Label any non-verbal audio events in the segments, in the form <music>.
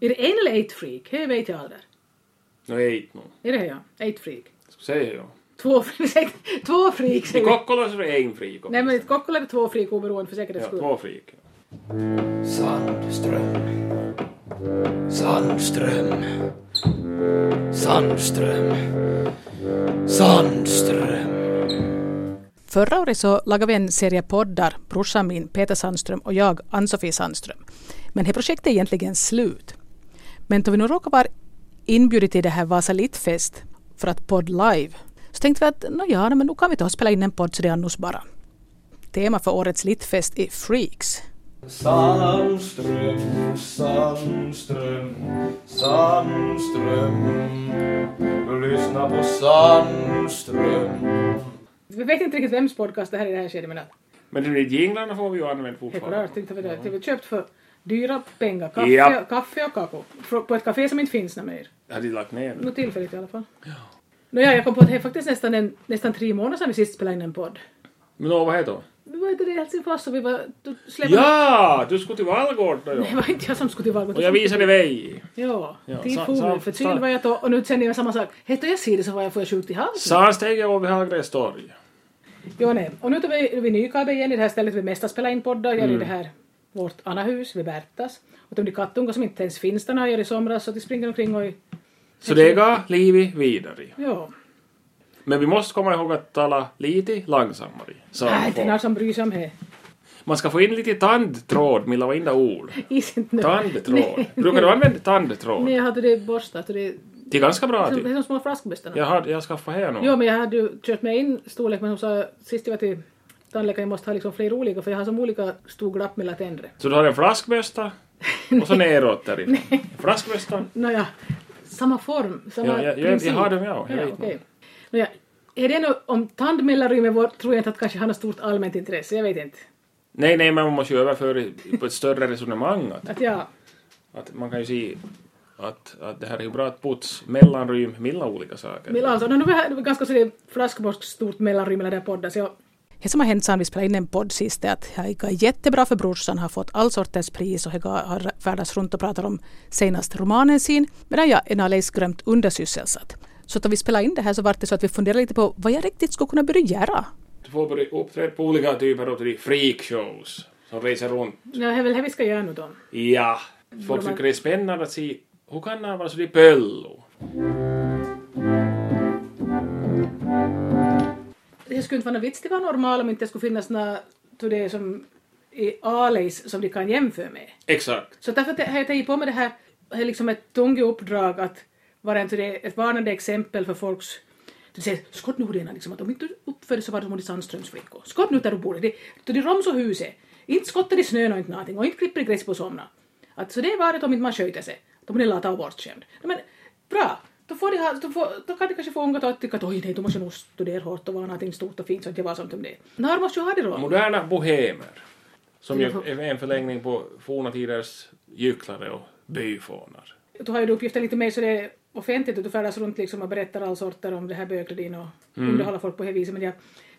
Är det en eller ett freak? Det vet jag aldrig. No ei no. Är det här, ja? Ett freak. Skulle säga ja. Två, <laughs> säkert- två freak I säger vi. Kokkola så är det en frik. Nej men ett Kokkola är det två freak oberoende för säkerhets Ja, skull. två frik. Sandström. Sandström. Sandström. Sandström. Förra året så lagade vi en serie poddar, brorsan min Peter Sandström och jag Ann-Sofie Sandström. Men det projektet är egentligen slut. Men då vi nu råkade vara inbjudna till det här Vasa Litfest för att podd live så tänkte vi att nå ja, nej, men nu kan vi ta och spela in en podd så det är annars bara. Tema för årets Litfest är Freaks. Sandström, Sandström, Sandström. Lyssna på Sandström. Vi vet inte riktigt vems podcast det här är i det här skedet men att- Men de där jinglarna får vi ju använda det är klart, fortfarande. inte för det. Det har vi köpt för dyra pengar. Kaffe, Ja. kaffe och kakao. Frå- På ett café som inte finns något mer. Jag hade lagt ner Något den. tillfälligt i alla fall. Ja. Nåja, jag kom på att det är faktiskt nästan, en, nästan tre månader sedan vi sist spelade in en podd. Men nå, vad heter det? Vi var inte det i Helsingfors så vi var... Du släppte... Ja! Du skulle till Vallgård då Det ja. var inte jag som skulle till Valbo. Och jag visade väg. Ja, Ja, tid sa- for sa- vi. Förkyld sa- var jag då och nu känner jag samma sak. Hette jag ser det så var jag får jag sjuk i halsen. Sandsteget över Hallgrens torg. Jo, nej. Och nu är vi, är vi i Nykabe igen i det här stället vi mest har spelat in poddar. Mm. Jag är i det här vårt Anahus vid Bertas. Och de där kattungar som inte ens finns där när jag gör i somras så att de springer omkring och... Så det går livet vidare. Ja. Men vi måste komma ihåg att tala lite långsammare. Så Nej, det är någon folk- som bryr sig om det. <laughs> man ska få in lite tandtråd mellan varenda ord. Is inte nu. Tandtråd. Nej, Brukar du använda tandtråd? Nej, jag hade det borstat och det... Det är ganska bra. Som, det är till. som små flaskbössorna. Jag, har, jag skaffade här nu. Jo, men jag hade ju kört mig in storlek men hon sa sist jag var till tandläkaren jag måste ha liksom flera olika för jag har som olika stor glapp mellan tänderna. Så du har en flaskmössa och så neråt <laughs> därifrån. Flaskmössan. Nåja, samma form, samma Ja, jag- jag- princip. jag har dem, ja, jag ja, vet okej. Nåja, är det nu, om tandmellanrummet var, tror jag inte att kanske har något stort allmänt intresse, jag vet inte. Nej, nej, men man måste ju överföra i- på ett större resonemang. Att, Att jag, att man kan ju se att, att det här är ju bra att putsa mellanrym mellan olika saker. men alltså, nu är det här- det var ganska sådär flaskborst stort mellanrum mellan där podden, så jag, Det som har hänt sedan vi spelade in en podd sist är att jag går jättebra för brorsan, har fått all sorters pris och jag går- har färdats runt och pratar om senast romanen sin, medan jag är alldeles grömt undersysselsatt. Så då vi spelade in det här så var det så att vi funderade lite på vad jag riktigt skulle kunna börja göra. Du får börja uppträda på olika typer av de freakshows som reser runt. ja, det är väl det vi ska göra nu då. Ja, folk tycker det är spännande att se hur kan det vara så de pöllo? Det skulle inte vara någon vits det var normalt om inte det skulle finnas några, tror det är som i Aleis som de kan jämföra med. Exakt. Så därför har jag tagit på mig det här, det är liksom ett tungt uppdrag att vara en, ett varnande exempel för folks det vill säga, skott nu redan liksom, att om inte du uppför dig så var du som de Sandströms flickor. Skott nu där du bor. Det, då de roms och huset. Inte skottar i snön och inte någonting. Och inte klipper i gräs på somna. Att, så det är varet om inte man sköter sig. Då blir lata och bortskämd. Nej, Men bra. Då, får de ha, då, får, då kan de kanske få unga att tycka att oj nej, då måste jag nog studera hårt och vara någonting stort och fint så att jag var som de det. När måste jag ha det då? Moderna bohemer. Som ju Ja. är en förlängning på forna tiders gycklare och byfånar. Du har ju uppgiften lite mer så det är offentligt och du färdas runt liksom och berättar all sorter om det här bögledin och underhåller folk på det här viset. Men jag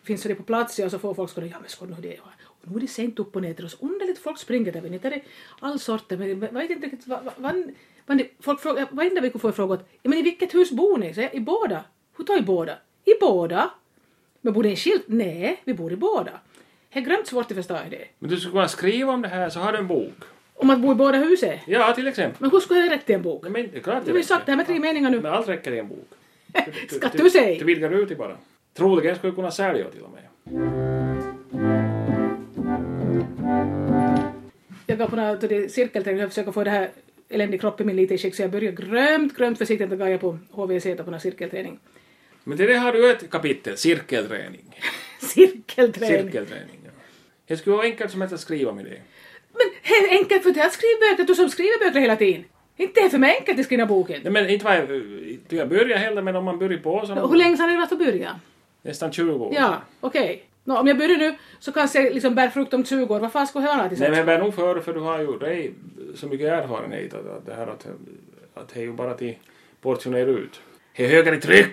finns så det på plats ja, så får folk skoja, ja men skoja nu det är. Och nu är det sent upp och ner till oss. Underligt folk springer där. vet ni. Där är all sorter. Men jag vet inte riktigt vad, vad, vad, vad det- folk frågar, varenda vecka får jag fråga att, ja men i vilket hus bor ni? Så jag, I båda? Hur tar i båda? I båda? Men bor ni i skilt? Nej, vi bor i båda. Det är grönt svårt att förstå det. Men du skulle kunna skriva om det här så har du en bok. Om att bo i båda huset. Ja, till exempel. Men hur skulle jag räcka till en bok? Ja, men det är klart Du har ju sagt det här med tre meningar nu. Men allt räcker i <laughs> en bok. Ska du säga? Du vidgar ut det bara. Troligen skulle du kunna sälja till och med. jag går på några till det cirkelträning och försöker få det här eländiga kroppen min lite i skick så jag börjar grömt, grömt försiktigt och går jag på HVC då på någon cirkelträning. <laughs> Men till det har du ett kapitel, cirkelträning. cirkelträning! Cirkelträning, ja. Det skulle vara enkelt som att skriva med det. Men helt enkelt för dig att skriva böcker, du som skriver böcker hela tiden! Inte är det för mig enkelt att skriva boken! Nej, men inte var jag, inte jag börjar heller, men om man börjar på så... Hur länge sedan har det varit att börja? Nästan 20 år. Ja, okej. Nå, om jag börjar nu så kanske jag liksom bär frukt om 20 år. Vad fan skulle jag ha till Nej, sen? men vad nog för, för du har ju dig så mycket erfarenhet att, att det här att, att det är ju bara till portionera ut. Det är högre tryck!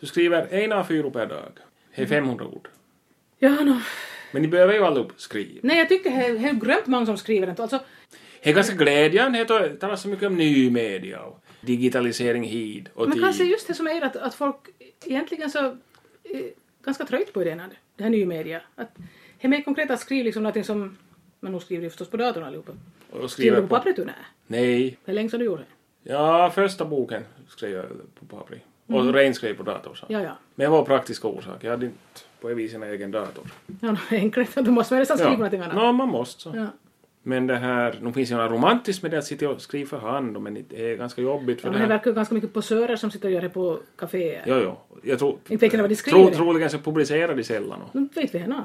Du skriver en av fyra per dag. Det Mm. är 500 ord. Ja, nå. Men ni behöver ju aldrig skriva. Mm. Nej, jag tycker det är det är grömt många som skriver det. Alltså, Det är ganska glädjande, det talas så mycket om ny media och digitalisering hit och Men kanske dit. just det som är att, att folk egentligen så är ganska trött på idén av det, det här nya media. Att det är mer konkret att skriva liksom någonting som, men nu skriver de förstås på datorn allihopa. Och Skriver du skriver på på... pappret du? Nej. Nej. Hur länge sedan du gjorde det? Ja, första boken skrev jag på papper. Och Rein skrev på dator. Så. Mm. Ja, ja. Men det var praktiska orsaker. Jag hade inte på det viset en egen dator. Ja, no, enkelt. Då måste man nästan skriva någonting annat. Nå, man måste så. Ja. Men det här, nu finns ju något romantiskt med det att sitta och skriva för hand, men det är ganska jobbigt för Ja, det men det här. verkar ju ganska mycket posörer som sitter och gör det på kaféer. Jo, jo. Jag tror... Inte vet jag vad de skriver. troligen så publicerar de sällan. och- Nu vet vi henne.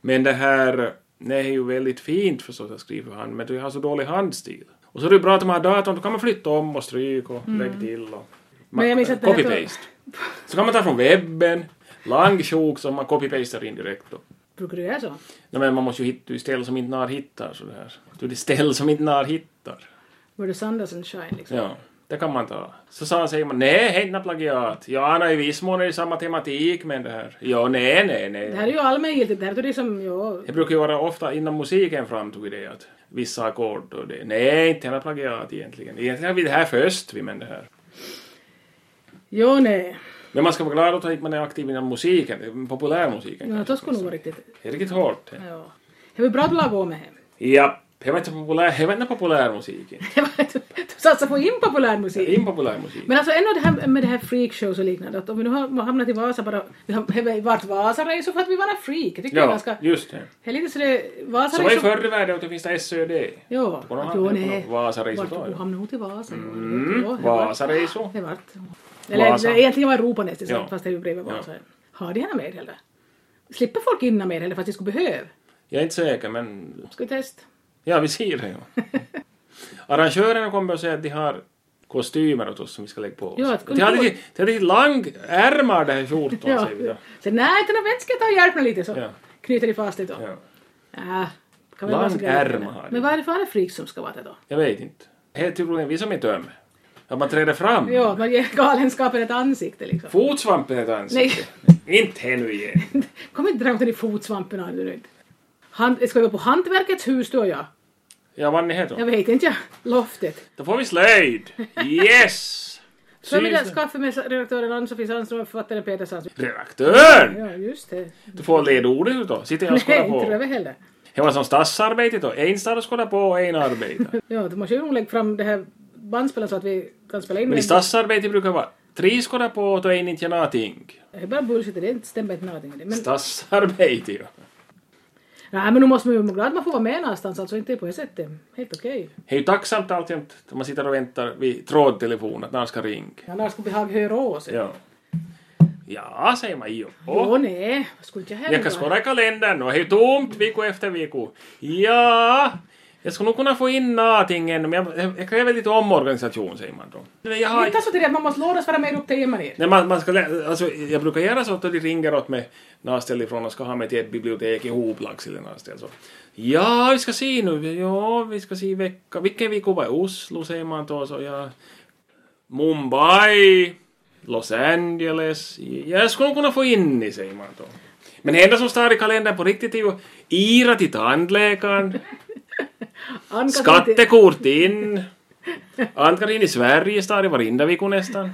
Men det här, nej, är ju väldigt fint förstås att skriva för hand, men du har så dålig handstil. Och så är det ju bra att man har datorn, då kan man flytta om och stryka och lägga till och... Mm. Men jag minns att det här tog- Copy-paste. Så kan man ta från webben, lang sjok som man copy-pastar in direkt då. Brukar du göra så? Nej, men man måste ju hitta ju ställ som inte när hittar så det här. Du, det är ställ som inte när hittar. Var det Sanders and Shine liksom? Ja, det kan man ta. Så sa han, säger man, nej, hejna plagiat. Ja, nej, i viss mån är det samma tematik men det här. Ja, nej, nej, nej. Det här är ju allmängiltigt. Det här är det som, ja, Det brukar ju vara ofta inom musiken framtog det att vissa ackord och det. Nej, inte hela plagiat egentligen. Egentligen har vi det här först, vi men det här. jo nej. Men man ska vara glad åt att man är aktiv inom musiken, populärmusiken. Ja, kanske. det skulle nog vara riktigt. Det är riktigt hårt. det. Ja. Det var bra att laga om med hem. Ja, jag vet inte populär, jag vet inte <laughs> populärmusiken. Du satsar på impopulär musik. Impopulärmusik. Men alltså ändå det här med det här freakshows och liknande. Att om vi nu har hamnat i Vasa bara... Vi har varit Vasaresor för att vi var freak. Jag tycker det är Ja, ganska... Alltså, liksom- just det. Det är lite sådär... Så vad är Vasaresor... förr i världen att det finns det SÖD? Jo, På någon- att jo, på nej. någon Vasaresor Vart- då, Du ja. hamnade nog till Vasa. jo, Mm, jo, det vart- Vasaresor. Det vart... Eller Vasa. Vasa. egentligen var Europa nästan, Ja. fast det är ju bredvid Vasa. Har de henne med heller? Slipper folk in med heller fast de skulle behöva? Jag är inte säker, men Ska vi testa? Ja, vi ser det ju. <laughs> Arrangörerna kommer att säga att de har kostymer åt oss som vi ska lägga på oss. Ja, att- de har lite, de har lite langärmar det här skjortan, Ja. säger vi då. Så nej, inte något vett ska jag ta och hjälpa mig lite så. Ja. Knyter de fast det då. Ja. Ja. Äh, Kan Lång väl vara så grejer. ärm har de. Men vad är det för andra freaks som ska vara det då? Jag vet inte. Helt tydligen vi som är töm. Att man träder <laughs> fram. Ja, man ger galenskapen ett ansikte liksom. Fotsvampen är ett ansikte. Inte ännu igen. Kom inte dra åt den i fotsvampen Anne, nu. Han, ska vi gå på Hantverkets hus du och jag? Ja, vad ni heter. Jag vet inte, jag. Loftet. Då får vi slöjd. <laughs> Yes! Så jag vill Syns jag det? skaffa med redaktören Ann-Sofie Sandström och författaren Peter Sandström. Redaktör! Ja, just det. Du får ledordet då. Sitter jag och Nej, skådar inte på. röver heller. Det var som stadsarbetet då. En stad och skådar på och en arbetar. Ja, då måste jag nog lägga fram det här bandspelaren så att vi kan spela in Men i det. stadsarbete brukar vara tre skådar på och en inte gör någonting. Det är bara bullshit, det är inte- stämmer inte med någonting. i det. Men, Stadsarbete ju. nej, men nu måste man ju vara glad att man får vara med någonstans, alltså inte på det sättet. Helt okej. Det är ju tacksamt alltjämt när man sitter och väntar vid trådtelefon att någon ska ringa. Annars skulle vi ha höra oss. Ja. Ja, säger man ju. Åh nej, skulle inte jag heller Jag kan vara. skåda i kalendern och det är ju tomt vecka efter vecka. Ja, jag skulle nog kunna få in någonting ännu, men jag, jag kräver lite omorganisation säger man då. Men Jag Det är har, inte så till det att man måste lånas vara med upp till Emmanuel. Nej, man, man ska, lä- alltså, jag brukar göra så att de ringer åt mig när jag ställer ifrån och ska ha mig till ett bibliotek i Hoplax eller något ställe. Så, ja, vi ska se nu. Ja, vi ska se i vecka. Vilken vecka var i Oslo säger man då. Så, ja. Mumbai, Los Angeles. Jag skulle nog kunna få in i säger man då. Men det enda som står i kalendern på riktigt är ju Ira till tandläkaren, Ann-Katrin till- skattekort in. Ann-Karin i Sverige står i varenda vecka nästan.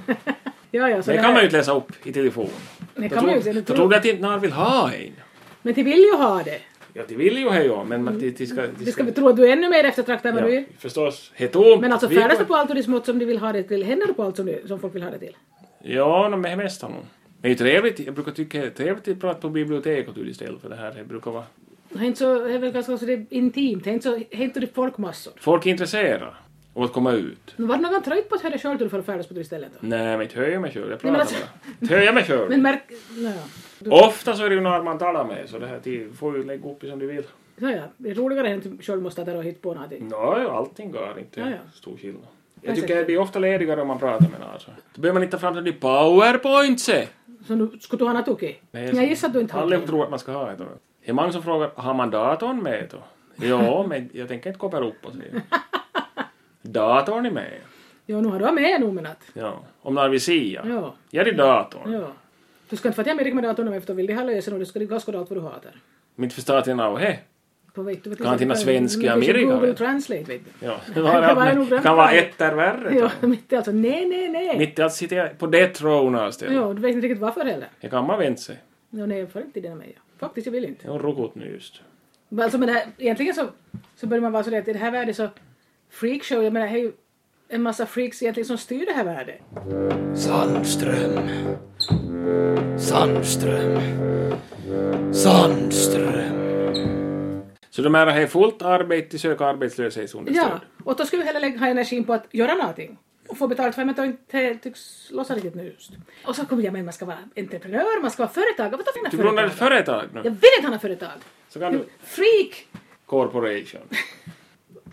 Ja, ja, så Det, det kan här- man ju inte läsa upp i telefon. Det Då kan man ju tror- inte. Då tror du att inte någon vill ha en. Men de vill ju ha det. Ja, de vill ju ha ja, men man- de, de ska... De Mm. Det ska vi tro att du är ännu mer eftertraktad än vad du ja, är. förstås. Helt tomt. Men alltså Vi går- färdas du på allt och det smått som du vill ha det till? Händer du på allt som, du, som folk vill ha det till? Ja, no, men det mesta nog. Det är ju trevligt. Jag brukar tycka det är trevligt att prata på biblioteket istället för det här. Det brukar vara... Det är inte så, det är väl ganska så det är intimt, det är inte så, det är inte det folkmassor. Folk är intresserade av att komma ut. Men var det någon trött på att höra dig själv till för att färdas på det stället då? Nej, men inte hör jag mig själv. Jag Nej, men pratar alltså- bara. Inte hör jag mig <laughs> själv. Men märk... Naja. Du- Ofta så är det ju någon man talar med, så det här, de får ju lägga upp det som de vill. Naja, det är roligare än att du själv måste ta där och hitta på någonting. Nå, ja, No, allting går inte Ja, ja. stor skillnad. Jag Jag tycker ser. det blir ofta ledigare om man pratar med någon. Alltså. Då behöver man inte ta fram den där powerpoint se. Så nu, skulle du ha något tokigt? Nej, Jag gissar att du inte har Alla det. tror att man ska ha det. Det är många som frågar, har man datorn med då? Ja, <laughs> men jag tänker inte koppla upp och säga. Datorn är med. Jo, nu har du med nog men att... Ja. Om när vi ser. Ja, Ja, det är datorn. ja. Du ska inte få att jag med rekommendatorn om efter vill det här lösa nu, du ska du ska skåda allt vad du hatar. Mitt förstatligande av det. på vet du. vet du, Kan så- hinna svensk i Men det är så Amerika, Google vet du. Translate vet du. Ja. <laughs> Det var nog Det bra. kan vara etter värre. Ja, <laughs> Ja. mitt i alltså nej, nej, nej. Mitt i allt sitter jag på det trånaste. Ja, du vet inte riktigt varför heller. Det kan man vänta sig. Ja, nej, jag får inte det med. Faktiskt, jag vill inte. Det är en rokotnyst. Men Alltså, men det här, egentligen så, så börjar man vara sådär att i det här världen så freakshow, jag menar det är ju en massa freaks egentligen som styr det här världen. Sandström. Sandström. Sandström. Så de här har fullt arbete till söka arbetslöshetsunderstöd. Ja, och då skulle vi hellre lägga- ha energin på att göra någonting och få betalt för det, men det inte tycks låsa riktigt nu just. Och så kommer jag med att man ska vara entreprenör, man ska vara företagare. Vadå för Du grundar företagare? Typ ett företag Jag nu. vill inte ha något företag. Så kan du... Freak! Corporation.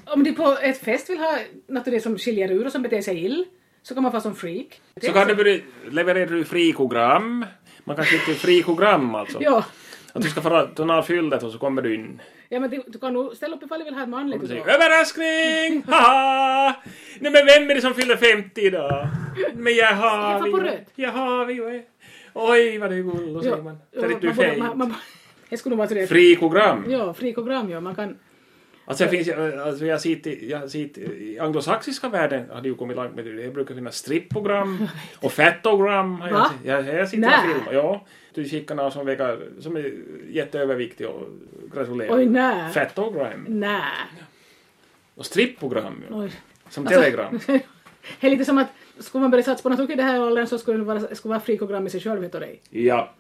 Om du på ett fest vill ha något av det som skiljer ur och som beter sig ill så kan man vara som freak. Det är Så kan så- du börja leverera du frikogram. Man kan skicka frikogram alltså. Ja. Att du ska fara tonalfyllet och så kommer du in. ja, men du, du kan nog ställa upp ifall du vill ha ett manligt. Och du säger organ. överraskning! <laughs> Haha! Nej men vem är det som fyller 50 idag? Men jag har Stefan vi. på röd. Jag har vi. oj. Oj vad du är gull. Och så säger man. Ja, Där är du man borde- man- fejt. man- Det skulle nog vara sådär. Frikogram. Ja, frikogram ja. Man kan... Alltså, det finns, ju- alltså jag ser till- jag ser till- i anglosaxiska världen har det ju kommit långt med det. Det brukar <laughs> finnas strippogram och fettogram. har Jag, Va? sett. jag, jag sitter Nä. och filmar. Ja, du skickar någon som, vägar, som är jätteöverviktig och gratulerar. Oj, nä. Fettogram. Nä. Och strippogram ju. Oj. Som Alltså- <laughs> telegram. Det är lite som att skulle man börja satsa på något tokigt i den här åldern så skulle det vara, skulle vara frikogram i sig själv, vet du dig. Ja.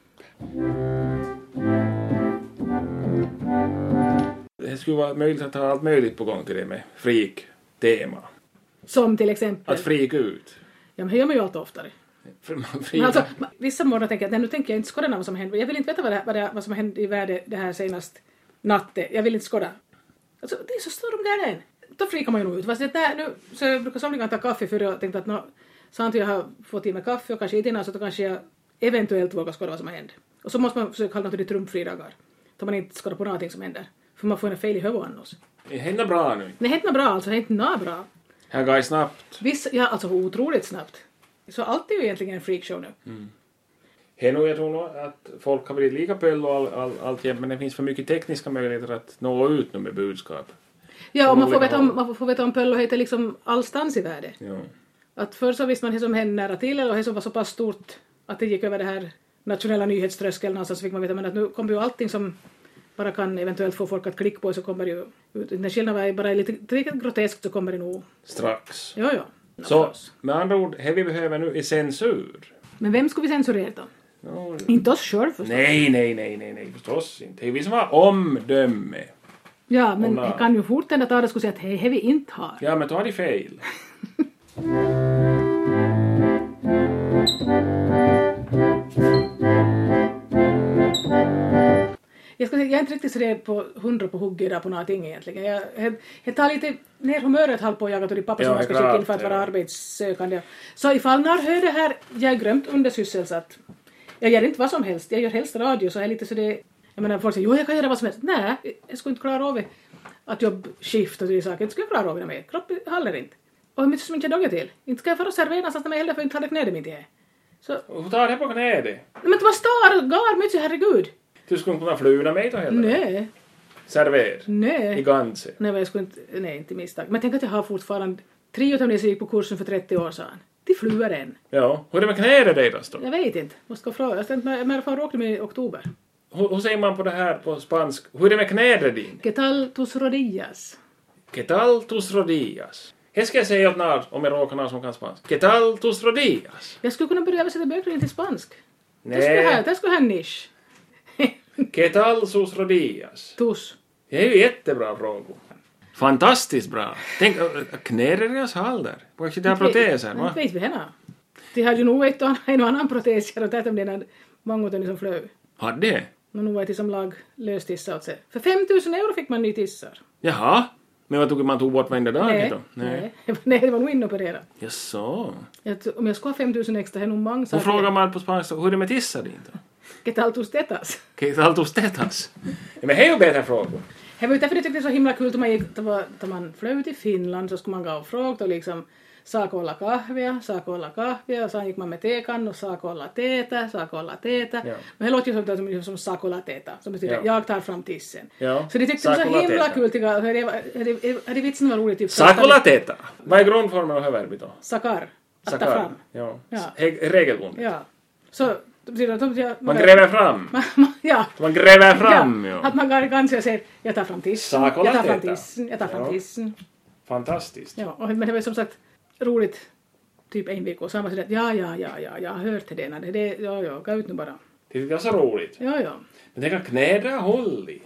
Det skulle vara möjligt att ha allt möjligt på gång till det med freak-tema. Som till Att exempel. freaka ut. Ja, men det gör man ju allt oftare. Men Freaka. alltså, ma- vissa morgnar tänker jag att nej, nu tänker jag inte skåda vad som hände. Jag vill inte veta vad, det, vad, det, vad som hände i världen det här senast natten. Jag vill inte skåda. Alltså, det är så stor de där den. Då frikar man ju nog ut. Fast det där, nu, så jag brukar somliga ta kaffe för jag tänkte att nå, sant jag har fått i mig kaffe och kanske inte innan så då kanske jag eventuellt vågar skåda vad som har hänt. Och så måste man försöka hålla något i det trumfri dagar. Då man inte skådar på någonting som händer. För man får en fel i huvudet annars. Det händer bra nu. Nej, helt nå bra alltså. Helt nå bra. Här går det snabbt. Vissa, ja, alltså otroligt snabbt. Så allt är ju egentligen en freakshow nu. Hej nu, jag tror nog att folk har blivit lika pöll och all, all, allt jämt, men det finns för mycket tekniska möjligheter att nå ut nu med budskap. Ja, och Från man får, olika veta om, håll. man får- får veta om Pöllo heter liksom allstans i världen. Ja. Att förr så visste man det som hände nära till eller det som var så pass stort att det gick över det här nationella nyhetströskeln någonstans så fick man veta men att nu kommer ju allting som bara kan eventuellt få folk att klicka på så kommer det ju ut. När skillnaden är bara är lite tillräckligt groteskt så kommer det nog. Strax. Ja, ja. Så med andra ord, det vi behöver nu är censur. Men vem skulle vi censurera då? Ja. Inte oss själva förstås. Nej, nej, nej, nej, nej, förstås inte. Det är vi som har omdöme. Ja, men Olla. det kan ju fort hända att Ada skulle säga att hej, hej vi inte har. Ja, men då har de fel. Jag, ska säga, jag är inte riktigt sådär på hundra på hugget idag på någonting egentligen. Jag, jag, jag tar lite ner humöret halvt på jagat och det papper Ja, som jag ska klart, skicka in för att vara ja. arbetssökande. Så ifall när hör det här, jag är grömt undersysselsatt. Jag gör inte vad som helst, jag gör helst radio så jag är lite sådär, jag menar folk säger jo jag kan göra vad som helst. Nej, jag skulle inte klara av det. att jobbskift och sådana saker, inte skulle jag klara av det med. Kroppen håller inte. Och hur mycket som inte jag dagar till. Inte ska jag fara och servera någonstans när jag heller för inte hade knäde mitt i. det. Så, nej, Och Hur tar det på knädet? men vad står och gar mycket, herregud. Du skulle inte kunna fluna mig då heller? Nej, Server. nej. I Ganse. Nej, men jag skulle inte, nej, inte misstag. Men tänk att jag har fortfarande tre utav de som gick på kursen för 30 år sedan. De flyger än. Ja. Hur är det med knädet deras då? Jag vet inte. Måste gå och fråga. Jag tänkte, men men fan råkade med i oktober. Hur, hur säger man på det här på spansk? Hur är det med knädet din? Que tal tus rodillas? ¿Qué tal tus rodillas? Här ska jag säga åt någon, om jag råkar någon som kan spanska. ¿Qué tal tus rodillas? Jag skulle kunna börja översätta böcker in till spansk. Det skulle jag ha, Nej. det skulle jag ha en nisch. ¿Qué tal sus rodillas? Tus. Det är ju jättebra frågor. Fantastiskt bra! Tänk, äh, äh, knäder deras hall där? Kanske de har proteser, Men va? Inte vet vi henne. De hade ju nog ett och annan- en och annan protes och där blev det många utav de som flög. Hade de? Men nu var det som lag löstissa åt sig. För 5000 euro fick man ny tissar. Jaha? Men vad tog man tog bort varenda dag då? nej. <laughs> nej, det var nog inopererat. Jaså? Jag tror- Om jag skulle ha 5000 extra, det är nog många Då saker. frågar man på spanska, hur är det med tissa din då? Get altus tetas. ¿Qué tal <laughs> tus tetas? Ja, men det är ju bättre frågor. Det var ju därför jag tyckte det var så himla kul då man, gick, då var, då man flög ut i Finland så skulle man gå och fråga då liksom saako olla kahvia, saako olla kahvia, niin och sen gick man med tekan och saako olla teetä, saako olla teetä. Ja. Men det låter ju som, det som, som saako olla teetä, som betyder Ja. jag tar fram tissen. Ja. Så det tyckte de var Saako så olla himla teetä? kul, tycker jag. Det var- det- det- det vitsen var rolig, typ Sakola teta. Vad är grundformen av verbet då? sakar, att ta Sakar. fram. Ja. Ja. He- regelbundet. Ja. Så, det betyder att de, de, Man gräver fram. ja. Man gräver fram, ja. ja. Att man kan- kanske säger jag tar fram tissen, jag Saako olla tar fram teetä? tissen, jag tar fram Ja. tissen. Fantastiskt. Ja, och, men det var ju som sagt roligt typ en vecka och sen var det sådär att ja, ja, ja, ja, jag har hört till det, när det, det ja, ja, gå ut nu bara. Det är ganska roligt. Ja, ja. Men tänk att knädra håll i.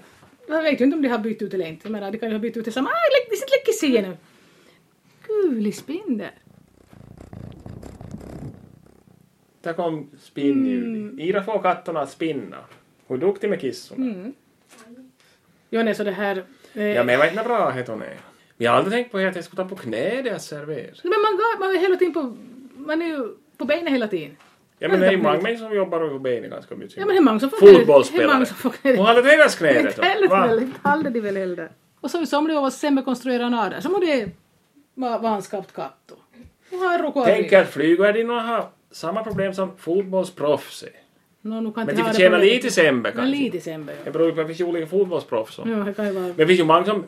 Jag vet ju inte om de har bytt ut eller inte. Jag menar, de kan ju ha bytt ut det samma. Aj, lägg, sitt läcker sig nu. Gul i spindel. Där kom Mm. spinnljudet. Ira får katterna att spinna. Hon är duktig med kissorna. Mm. Jo, nej, så det här... Eh, Ja, men jag vet inte bra het hon är. Men jag har aldrig tänkt på att jag skulle ta på knä deras server. men man, går- man är hela tiden på... Man är ju på benen hela tiden. Ja, men det är ju Vänta, många människor som jobbar över benen ganska mycket. Ja, men hur många som får... Hur Fotbollsspelare. många som får... Hon hade deras knä vet Inte heller du. väl, Va? inte hade de väl heller. Och så som det var sämre konstruerade som om det var vanskapt katt. Och har råkat Tänk att flygvärdinnorna har samma problem som fotbollsproffs. är. No, nu kan Men inte de ha det förtjänar på det- lite sämre Men kanske. lite sämre, ja. Det beror ju på att det finns ju olika fotbollsproffs. Ja, det kan ju vara... Men det finns ju många som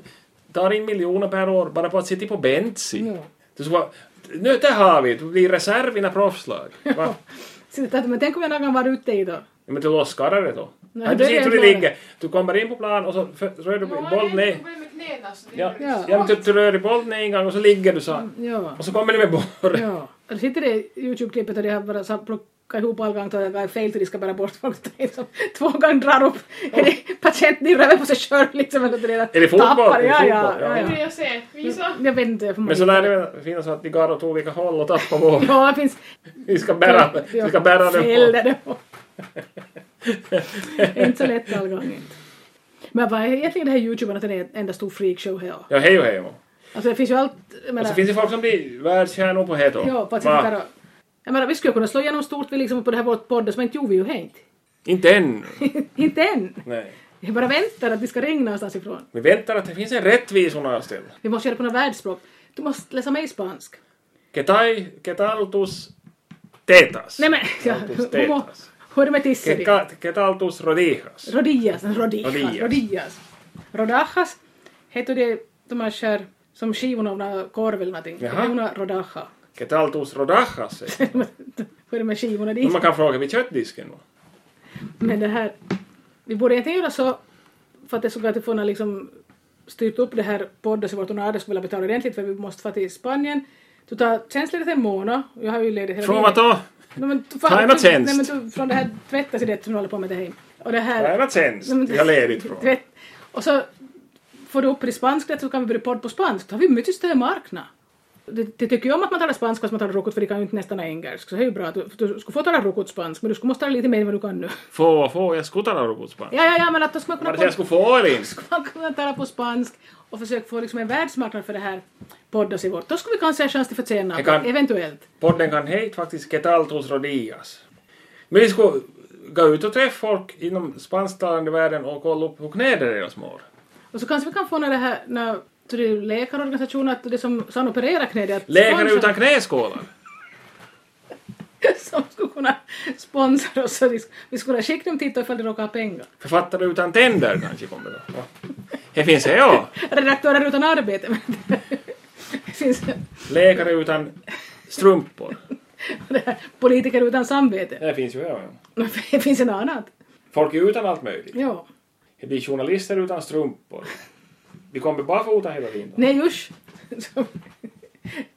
tar in miljoner per år bara på att sitta på Bentsi. Ja. Det skulle vara... Nu, där har vi det. Du blir reserv i några proffslag. Va? Så det- Men tänk om jag någon gång var ute i då. Ja, men du losskarrar det då. Nej, Nej, det du är ser hur jag det klar. ligger. Du kommer in på plan och så för- rör du bollen ner. Ja. Ja. Ja. men du, du rör i bollen en gång och så ligger du så här. Ja. Och så kommer du med bollen. Ja. Och sitter det i Youtube-klippet och de har bara så här plockat ihop all gång och det är fel till de ska bära bort folk. Det är som Två gånger drar upp är det patienten i röven på sig själv liksom. Eller det Är det fotboll? Tappar, Är det ja, ja, fotboll? ja, Ja. ja. jag se? Visa. Jag vet inte. jag får Men så man- lär det väl finnas att de går åt olika håll och tappar <laughs> bollen. Ja, det finns... Vi ska bära, vi ska bära den på. Fällde det på. Inte så lätt all gång. inte. Men vad är egentligen det här Youtube att det är en enda stor freakshow här? Ja, hej och hej. Alltså det finns ju allt... Jag Och menar, så finns det folk som blir världsstjärnor på heto. ja, på att sitta där och... Jag menar, vi skulle kunna slå igenom stort vi liksom på det här vårt podden, men inte gjorde vi ju helt. Inte ännu. <laughs> inte än! Nej. Jag bara väntar att vi ska ringa någonstans ifrån. Vi väntar att det finns en rättvisornas till. Vi måste göra det på något världsspråk. Du måste läsa mig spansk. Ketai, ketaltus tetas. Nej men, ja, <laughs> Altus hur må- tetas. hur är det med tisseri? Keka- Ketaltus rodijas. Rodillas, rodillas, rodillas. Rodillas. Rodajas heter det de här skär, som skivorna av någon korv eller någonting. Jaha. Hon rodaja. Ketaltus rodajas. säger man. Hur är det med skivorna dit? Men man kan fråga vid köttdisken. då. Men det här, vi borde egentligen göra så för att det skulle att få någon liksom styrt upp det här podden så vart hon hade skulle vilja betala ordentligt för vi måste få till Spanien. Du tar tjänstledigt en månad. Jag har ju ledigt hela Från vad då? Nej, men du- Ta en tjänst. Nej, men du, från det här tvättasidet som du håller på med det här. Och det här... Träna tjänst. Vi har ledigt från. Tvätt. Och så får du upp det spanska så kan vi börja podd på spanska. Då har vi mycket större marknad. Det, det tycker jag om att man talar spanska som man talar rucut för det kan ju inte nästan engelska. Så det är ju bra att du, du skulle få tala rucut spanska men du skulle måste tala lite mer än vad du kan nu. Få, få, jag skulle tala robotspanska. Ja, ja, ja, men att då ska man Var kunna, det så pod- jag skulle få eller inte? man kunna tala på spansk och försöka få liksom en världsmarknad för det här poddas i vårt. Då skulle vi kanske ha chans till förtjäna, Jag kan- eventuellt. Podden kan hejt faktiskt Ketaltus rodijas. Men vi skulle gå ut och träffa folk inom spansktalande världen och kolla upp hur knäder deras mår. Och så kanske vi kan få när det här, när så det är ju läkarorganisationer, att det som sen opererar knät, att Läkare sponsra- utan knäskålar. <laughs> som skulle kunna sponsra oss. så vi sk- Vi skulle skicka dem titta ifall de råkar ha pengar. Författare utan tänder kanske kommer det då. Ja. Det finns det ja. Redaktörer utan arbete. men <laughs> det finns Läkare utan strumpor. det här, politiker utan samvete. Det finns ju ja. ja. <laughs> Det finns en annat. Folk är utan allt möjligt. Ja. Det blir journalister utan strumpor. Vi kommer barfota hela tiden. Nej usch. <laughs> Så-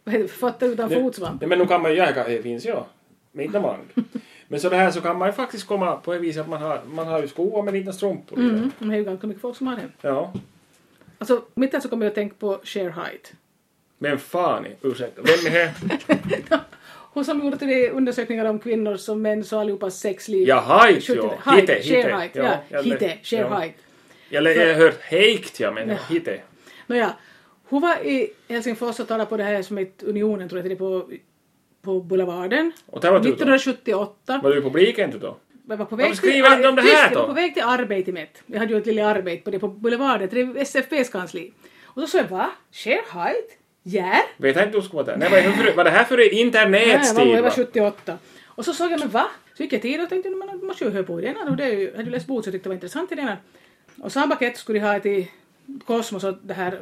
Vad heter det? Fötter utan Nej, fotsvamp. Nej, men nu kan man ju, ja, det finns ju. Men inte man. Men så det här så kan man ju faktiskt komma på det viset att man har, man har ju skor men inte strumpor. Mm, det är ju ganska mycket folk som har det. Ja. Alltså, mitt i så kommer jag att tänka på Share Height. Men fan, ursäkta, vem är det? Hon som gjorde till det undersökningar om kvinnor som män så allihopas sexliv. Ja, height ju. 70 Hite, Height, hite. Share Height. Ja, Ja, jag- hite, Share ja. Height. Eller jag har hört heikt, jag menar. Ja. Hite. Nåja, hon var i Helsingfors och talade på det här som heter Unionen, tror jag det är, på, på Boulevarden. Och där var du då? 1978. Var du i publiken du då? Jag var på Varför väg skriver inte om det Tyst, här Jag var då? på väg till arbetet mitt. Jag hade ju ett litet arbete på det på Boulevarden, till SFPs kansli. Och så sa jag va? Share height? Ja. Vet jag inte hur du skulle vara där. Nej, vad är det för- vad är det här för internettid? Nej, jag var va? 78. Och så såg jag, men va? Så gick jag till och tänkte, men man måste ju höra på idén här. Och det är ju, jag hade ju läst bok så jag tyckte det var intressant idén här. Och samma paket skulle de ha till Kosmos och det här,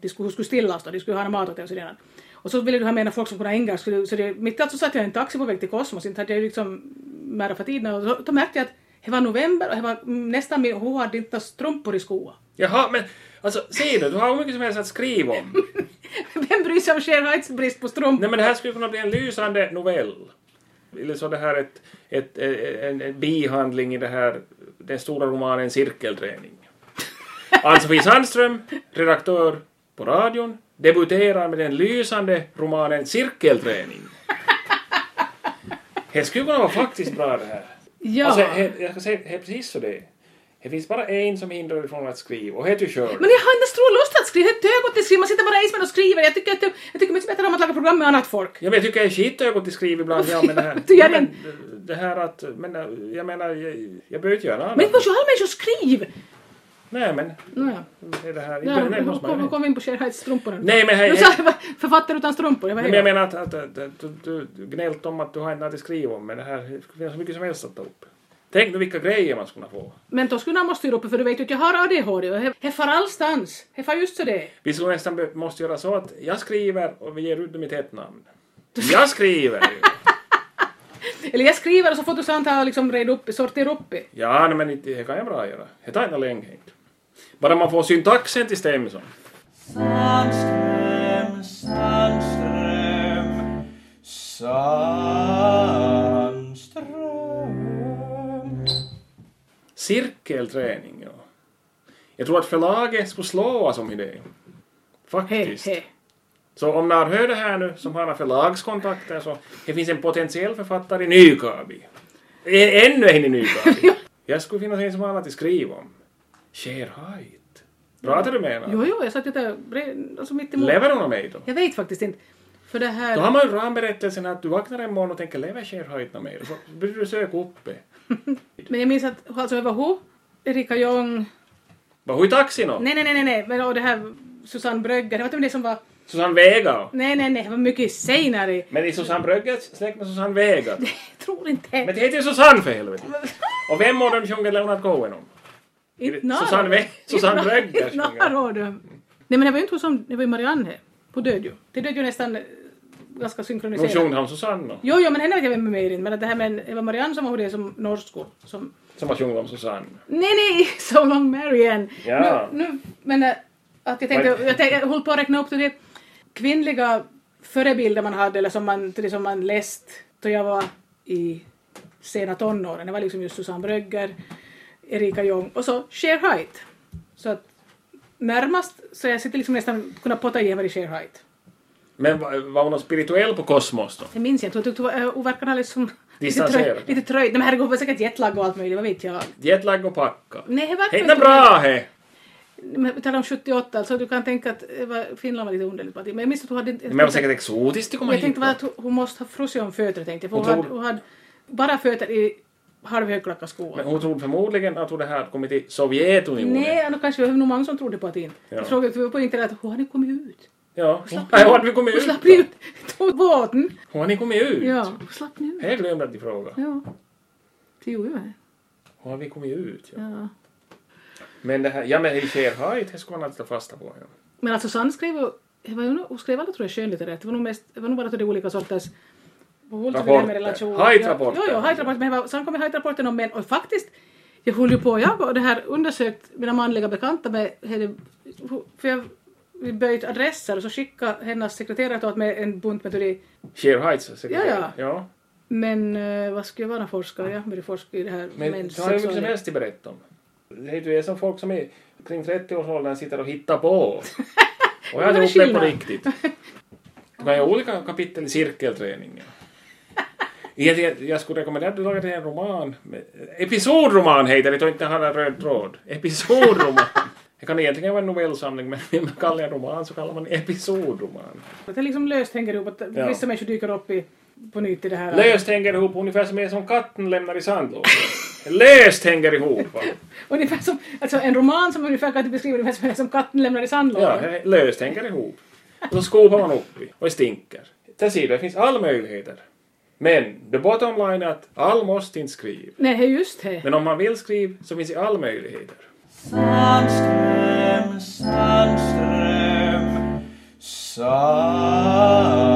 de skulle, skulle stillas då, de skulle ha mat åt oss redan. Och så ville du ha med några folk som kunde engelska, så det- så det, mitt i allt så satt jag i en taxi på väg till Kosmos, inte hade jag ju liksom märkt för tiden. Och då, då märkte jag att det var november och det var mm, nästan min, hon hade inte strumpor i skoa. <laughs> Jaha, men alltså ser du, du har hur mycket som helst att skriva om. Vem bryr sig om Cher Heights brist på strumpor? Nej men det här skulle kunna bli en lysande novell. Eller så det här ett, ett, eh, en, en bihandling i det här, den stora romanen Cirkelträning. Ann-Sofie Sandström, redaktör på radion, debuterar med den lysande romanen Cirkelträning. Det skulle kunna vara faktiskt bra det här. Ja. Alltså, he, jag ska säga, det är precis så det är. Det finns bara en som hindrar dig från att skriva och det är du själv. Men jag har inte stor lust att skriva. Jag är ett ögon till skriva. Man sitter bara i ismen och skriver. Jag tycker, att, jag tycker mycket bättre om att laga program med annat folk. Ja, men jag tycker jag är skit jag gått till skriv ibland. Ja, men det här, <laughs> Du gör men, den. det här att... Men, eh, jag menar, jag, jag behöver inte göra något Men annat. inte måste ju alla människor skriva! Nej, men... Nåja. Är det Där, här... inte, nej, nu måste kom, nu man, kom vi in på Cher Heights strumporna. nej, men hej, Nu hej. sa <laughs> jag bara, författare utan strumpor. Jag var Nej, men jag helt... menar att, att, att, att du, du, du gnällt om att du har inte något att skriva om, men det här det skulle finnas så mycket som helst att ta upp. Tänk nu vilka grejer man skulle kunna få. Men då skulle jag måste styra upp för du vet ju att jag har ADHD och jag- jag far allstans. Jag far just så det är. Vi skulle nästan be- måste göra så att jag skriver och vi ger ut mitt <laughs> ett namn. Jag skriver! ju. Eller jag skriver och så får du sånt här och liksom reda upp, sortera upp det. ja, nej, men inte- det kan jag bra göra. Det tar inte länge. inte. Bara man får syntaxen till stämma så. Sandström, Sandström, Sandström. Cirkelträning, ja. Jag tror att förlaget skulle slå oss om idé. Hej, Faktiskt. hej. Så om ni har hört det här nu, som har några förlagskontakter, så det finns en potentiell författare i Nykabi. Ä- Ännu en i Nykabi. jag skulle finnas en som har annat att skriva om. Cher Height. Pratar du med henne? Jo, jo, jag satt ju där bre- alltså mitt emot. Lever hon av mig då? Jag vet faktiskt inte. För det här... Då har man ju ramberättelsen att du vaknar en morgon och tänker lever Cher Height av mig? Så blir du söka upp det. Men jag minns att alltså, jag var hon, Erika Jong, Var hon i taxin då? Nej, nej, nej, nej, nej, men och det här Susanne Brögger, det var inte det som var... Susanne Vega. Nej, nej, nej, det var mycket senare. Men i Susanne Bröggers släkt med Susanne Vega. Jag tror inte det. Men det heter ju Susanne för helvete! Och vem av dem sjunger Leonard Cohen om? Inte narr. Susanne Ve- Susanne Inte narr- Brögger inte narr, sjunger. och de- Nej, men det var ju inte hon som... Det var ju Marianne. Hon död ju. Det död ju nästan eh, ganska Nu synkroniserat. sjöng han Susanne då, Jo, jo, men henne vet jag vem är med i, men att det här med Eva Marianne som var hon det som norsko. Som... som har sjungit om Susanne. Nej, nej, <laughs> So Long Marianne. Ja. Nu, nu, men äh, att jag tänkte, Vad- jag, tänkte, jag höll på att räkna upp till det kvinnliga förebilder man hade eller som man, till det som man läst då jag var i sena tonåren. Det var liksom just Susanne Brögger, Erika Jong och så Cher Height. Så att närmast så jag sitter liksom nästan kunna potta i mig i Cher Height. Men var, var hon någon spirituell på Kosmos då? Det minns jag inte, jag tyckte hon var- eh, hon verkade liksom lite Distanserad. tröjd. Lite tröjd. Nej men herregud, hon var säkert jetlag och allt möjligt, vad vet jag. Jetlag och packa. Nej, det verkar Hej, nå bra he! Men vi talar om 78, alltså du kan tänka att eh, vad- Finland var lite underligt. parti. Men jag minns att hon hade... Men det var säkert exotiskt att komma jag hit. tänkte bara då. att hon- hon måste ha frusit om fötter, tänkte jag. För hon, Hon hade, tog- hon hade bara fötter i halvhögklackat skor. Men hon trodde förmodligen att hon det här hade kommit till Sovjetunionen. Nej, då kanske det var nog många som trodde på att det inte. Ja. Jag frågade för på internet, hon hade kommit ut. <laughs> Ja. Slapp Nej, nu. hon hade väl kommit Hon ut slapp då? ut. <laughs> Tog båten. Hon hade kommit ut? Ja, hon slapp nu. Jag glömde att fråga. Ja. Det gjorde jag. Hon hade kommit ut, ja. Ja. Men det här, ja men i Cher Height, det skulle man alltid ta fasta på. Ja. Men alltså Sanne skrev ju- det var ju nog- hon skrev aldrig tror jag skönlitterärt. Det var nog mest, det var nog bara till de olika sorters Rapporter. Hajtrapporter. Jo, jo, hajtrapporter. Men det var- sen kom ju hajtrapporten om män och faktiskt, jag höll ju på, jag och det här undersökt mina manliga bekanta med, hade- för jag vi böjt adresser och så skickade hennes sekreterare åt mig en bunt med teori. Cher Heights sekreterare. Ja, ja. ja. Men eh, vad skulle jag vara forskare? Jag började forska i det här Men mäns du har ju mycket som sexualitet. helst att berätta om. Det är ju det som folk som är kring 30-årsåldern sitter och <laughs> hittar på. Och jag Men det har är upplevt på skillnad. riktigt. Du kan ju ha olika kapitel <laughs> i cirkelträningen. Jag, jag skulle rekommendera att du lagar en roman. med- Episodroman heter det, och inte har en röd tråd. <laughs> Episodroman. Det kan egentligen vara en novellsamling, men <laughs> när man kallar en roman så kallar man episodroman. Att Det liksom löst hänger ihop att Ja. vissa människor dyker upp i, på nytt i det här. Löst hänger ihop, ungefär som en som katten lämnar i sandlådan. Löst hänger ihop! Va? Ungefär som, alltså en roman som ungefär kan beskriva ungefär som, som katten lämnar i sandlådan. Ja, löst hänger ihop. Och så skopar man upp i, och det stinker. Där ser du, det finns alla möjligheter. Men the bottom line är att all måste inte skriva. Nej, hej, just det. Men om man vill skriva så finns det alla möjligheter. Sandström, Sandström, Sandström.